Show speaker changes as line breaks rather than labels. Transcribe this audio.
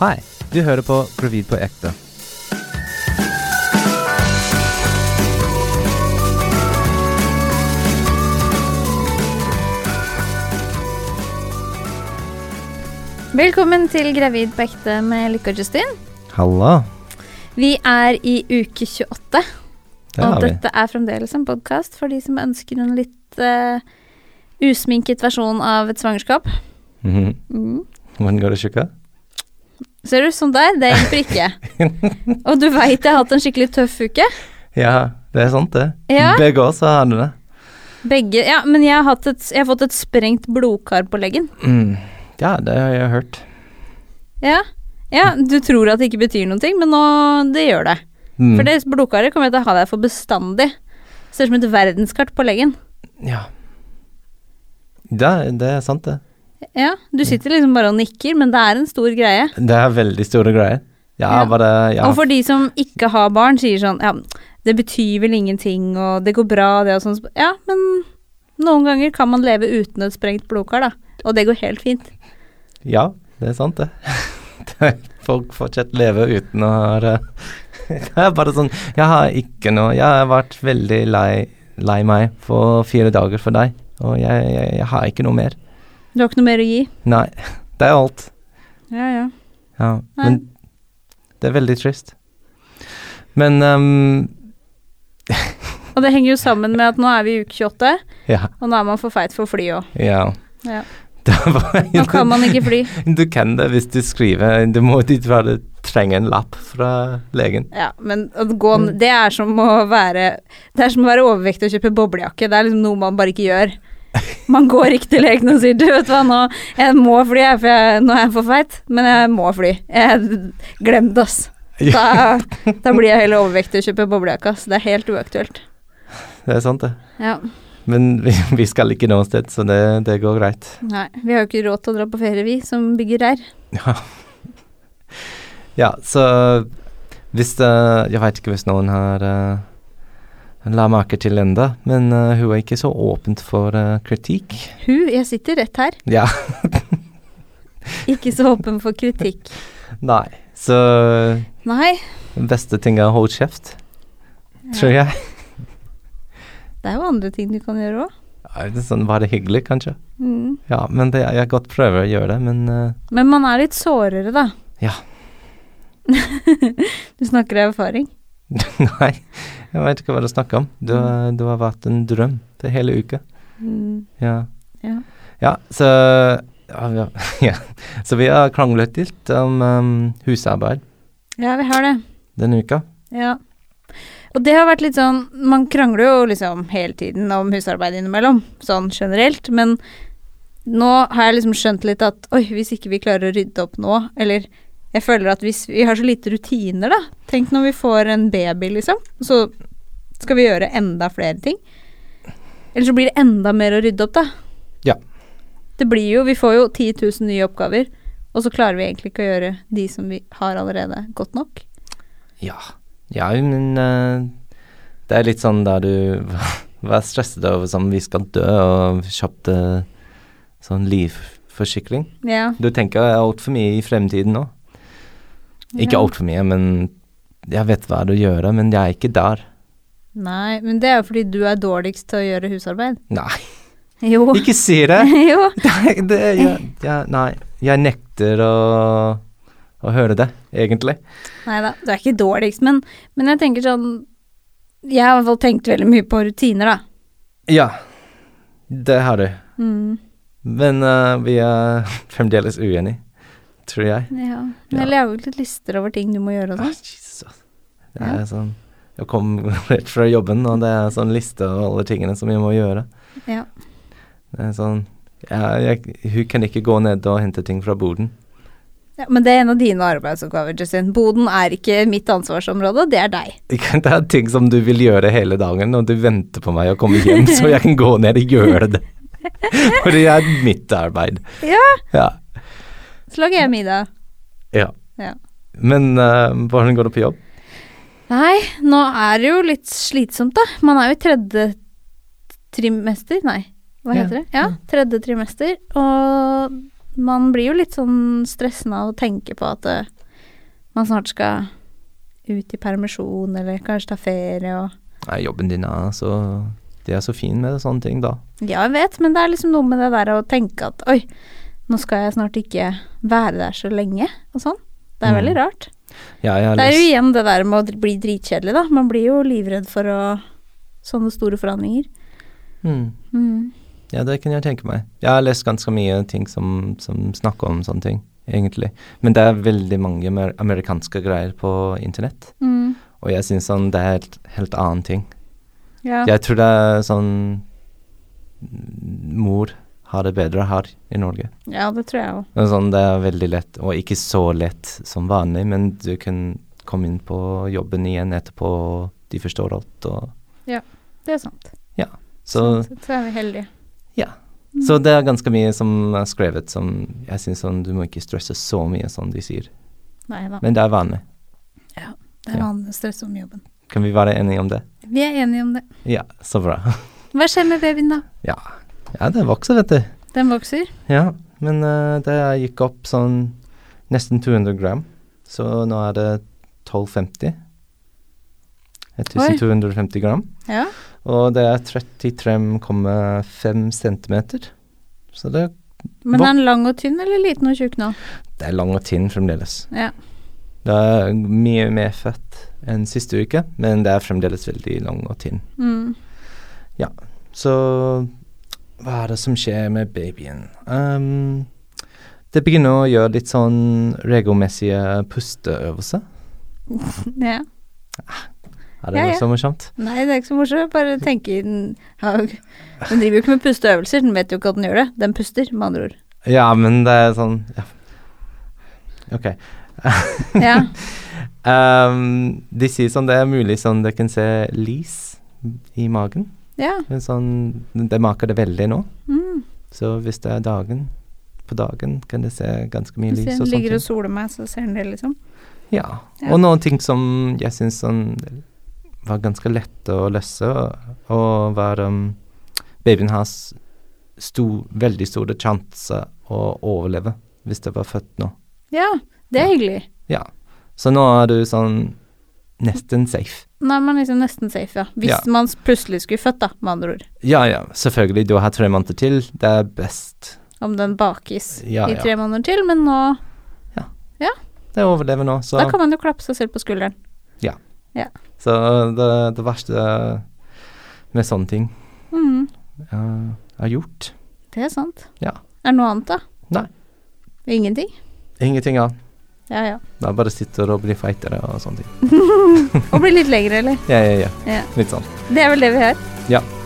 Hei, du hører på Gravid på ekte.
Velkommen til Gravid på ekte med Lykke og Justin.
Halla.
Vi er i uke 28,
Det
og
er vi.
dette er fremdeles en podkast for de som ønsker en litt eh, usminket versjon av et svangerskap.
Mhm. Hvordan går det, tjukka?
Ser du, sånn der, det hjelper ikke. og du veit jeg har hatt en skikkelig tøff uke.
Ja, det er sant, det.
Ja.
Begge oss har hatt det.
Begge Ja, men jeg har, hatt et, jeg har fått et sprengt blodkar på leggen.
Mm. Ja, det har jeg hørt.
Ja. ja, du tror at det ikke betyr noen ting, men nå, det gjør det.
Mm.
For det blodkaret kommer jeg til å ha der for bestandig. Ser ut som et verdenskart på leggen.
Ja. Det, det er sant, det.
Ja, du sitter liksom bare og nikker, men det er en stor greie.
Det er veldig store greier. Ja,
Ja.
bare ja.
Og for de som ikke har barn, sier sånn Ja, det betyr vel ingenting, og det går bra, det og sånn. Ja, men noen ganger kan man leve uten et sprengt blodkar, da. Og det går helt fint.
ja, det er sant, det. Det- Folk fortsetter å leve uten å ha det. Det er bare sånn Jeg har ikke noe Jeg har vært veldig lei, lei meg for fire dager for deg, og jeg, jeg, jeg har ikke noe mer.
Du har ikke noe mer å gi.
Nei, det er alt.
Ja, ja.
Ja,
Nei.
men det er veldig trist. Men ehm,
Og det henger jo sammen med at nå er vi i uke 28,
ja,
og nå er man for feit for fly òg.
ja.
Ja.
Det var,
Nå kan man ikke fly.
Du kan det hvis du skriver Du må dit bare trenge en lapp fra legen.
Ja, men å gå n- Det er som å være Det er som å være overvektig og kjøpe boblejakke. Det er liksom noe man bare ikke gjør. Man går ikke til legen og sier 'du, vet du hva, nå jeg må fly, jeg, for jeg, nå er jeg for feit', men jeg må fly. Jeg, glem det, ass. Da, da blir jeg heller overvektig og kjøper boblejakke, ass. Det er helt uaktuelt.
Det er sant, det.
Ja.
Men vi, vi skal ikke noe sted, så det, det går greit.
Nei. Vi har jo ikke råd til å dra på ferie, vi, som bygger her.
Ja, ja så hvis eh, Jeg veit ikke hvis noen har eh, la merke til enda, men eh, hun er ikke så åpent for eh, kritikk.
Hu, jeg sitter rett her.
Ja.
Ikke så åpen for kritikk.
Nei. Så
Nei.
den beste ting er å holde kjeft, tror
Ja,
jeg.
Det er jo andre ting du kan gjøre òg.
Ja, det er sånn Være hyggelig, kanskje.
Mm.
Ja, men det, jeg godt prøver å gjøre det, men eh,
Men man er litt sårere, da.
Ja.
du snakker av erfaring.
Nei. Jeg veit ikke hva du snakker om. Du, har- du har vært en drøm det hele uka.
Mm.
Ja.
Ja.
Ja, så ja, ja, ja. Så vi har kranglet litt om em, husarbeid
Ja, vi har det.
denne uka.
Ja. Og det har vært litt sånn Man krangler jo liksom hele tiden om husarbeid innimellom, sånn generelt, men nå har jeg liksom skjønt litt at oi, hvis ikke vi klarer å rydde opp nå, eller jeg føler at hvis vi har så lite rutiner, da Tenk når vi får en baby, liksom, så skal vi gjøre enda flere ting. Eller så blir det enda mer å rydde opp, da.
Ja.
Det blir jo Vi får jo 10 000 nye oppgaver, og så klarer vi egentlig ikke å gjøre de som vi har allerede, godt nok.
Ja. Ja, men eh, det er litt sånn der du var stresset over som vi skal dø, og kjøpte sånn livforsikring.
Ja.
Du tenker altfor mye i fremtiden nå. Ikke
Ja.
altfor mye, men jeg vet hva du gjør, men jeg er ikke der.
Nei, men det er jo fordi du er dårligst til å gjøre husarbeid.
Nei,
Jo.
ikke si det!
jo.
Nei, det, jeg, jeg, nei, jeg nekter å, å høre det, egentlig.
Nei da, du er ikke dårligst, men, men jeg tenker sånn Jeg har i hvert fall tenkt veldig mye på rutiner, da.
Ja, det har du.
Mm,
Men eh, vi er fremdeles uenige, tror jeg.
ja. Men
Ja.
jeg lager litt lister over ting du må gjøre og
Ah,
sånn.
Jesus. Det er sånn Jeg kom rett fra jobben, og det er sånn liste over alle tingene som jeg må gjøre.
Ja.
Det er sånn ja, jeg, Hun kan ikke gå ned og hente ting fra boden.
Ja, men det er en av dine arbeidsoppgaver, Justin. Boden er ikke mitt ansvarsområde, det er deg.
Ikke- Det er ting som du vil gjøre hele dagen, og du venter på meg å komme hjem, så jeg kan gå ned og gjøre det. For det er mitt arbeid.
Ja,
Ja.
så lager jeg middag.
ja.
Ja.
Men eh, hvordan går det på jobb?
Nei, nå er det jo litt slitsomt, da. Man er jo i tredje trimester, nei, hva
Ja,
heter det? Ja, tredje trimester, og man blir jo litt sånn stressende av å tenke på at eh, man snart skal ut i permisjon, eller kanskje ta ferie og
Nei, jobben din er så De er så fin med sånne ting, da.
Ja, jeg vet, men det er liksom noe med det der å tenke at oi, nå skal jeg snart ikke være der så lenge, og sånn. Det er
Mm.
veldig rart.
Ja, jeg har
Det er jo
lest
igjen det der med å dr- bli dritkjedelig, da. Man blir jo livredd for å sånne store forandringer.
mm.
Mm.
Ja, det kunne jeg tenke meg. Jeg har lest ganske mye ting som, som snakker om sånne ting, egentlig. Men det er veldig mange mer amerikanske greier på internett.
Mm.
Og jeg syns sånn det er helt, helt annen ting.
Ja.
Jeg tror det er sånn Mor har det bedre her i Norge.
ja, det tror jeg òg.
Det er Sånn, det er veldig lett, og ikke så lett som vanlig, men du kan komme inn på jobben igjen etterpå, og de forstår alt. Og,
Det er sant.
så,
Sånn, så er vi heldige. Mm.
så det er ganske mye som er skrevet som jeg syns sånn, du må ikke stresse så mye, som de sier.
Nei da.
Men det er vanlig.
Det er
ja.
vanlig å stresse om jobben.
Kan vi være enige om det?
Vi er enige om det.
Ja, så bra.
Hva skjer med babyen, da?
Ja, det vokser, vet du.
Den vokser.
Ja, men eh, det gikk opp sånn nesten 200 gram, så nå er det 1250. 1250 gram.
Ja.
Og det er 33,5 centimeter. Så det,
Men
Hva-
er den lang og tynn eller liten og tjukk nå?
det er lang og tynn fremdeles.
Ja.
Det er mye mer fett enn siste uke, men det er fremdeles veldig lang og tynn.
Mm.
Så hva er det som skjer med babyen? Ehm, det begynner å gjøre litt sånn regelmessige pusteøvelser.
ja.
Er det
Ja,
noe
ja.
så morsomt?
Nei, det er ikke så morsomt. Bare tenker den har jo- Den driver jo ikke med pusteøvelser, den vet jo ikke at den gjør det. Den puster, med andre ord.
Ja, men det er sånn ja. Ok.
Ja.
Ehm, de sier sånn det er mulig sånn dere kan se lys i magen.
ja.
Men sånn, det maker det veldig nå.
Mm.
Så hvis det er dagen, på dagen kan det se ganske mye
Hvis
lys
den
og sånt.
ligger og soler meg, så ser den det, liksom.
Ja.
Ja.
Og noen ting som jeg syns sånn var ganske lette å løse, og var um, Babyen har s- stor, veldig store sjanser å overleve hvis det var født nå.
Ja, det er hyggelig.
Ja. Så nå er du sånn nesten safe.
Nå er man liksom nesten safe, ja. Hvis
Ja.
man plutselig skulle født, da, med andre ord.
Ja, ja, selvfølgelig. Du har tre måneder til. Det er best.
Om den bakes
Ja,
i
ja.
tre måneder til, men nå
Det overlever nå, så
Da kan man jo klappe seg selv på skulderen.
Så det, det verste med sånne ting
Mm.
eh, er gjort.
Det er sant.
Ja.
Er det noe annet, da?
Nei.
Ingenting?
Ingenting annet.
Ja ja.
Da bare sitter og blir feitere og sånne ting.
Og bli litt lengre, eller?
Ja, ja, ja.
Ja.
Litt sånn.
Det er vel det vi har.
Ja.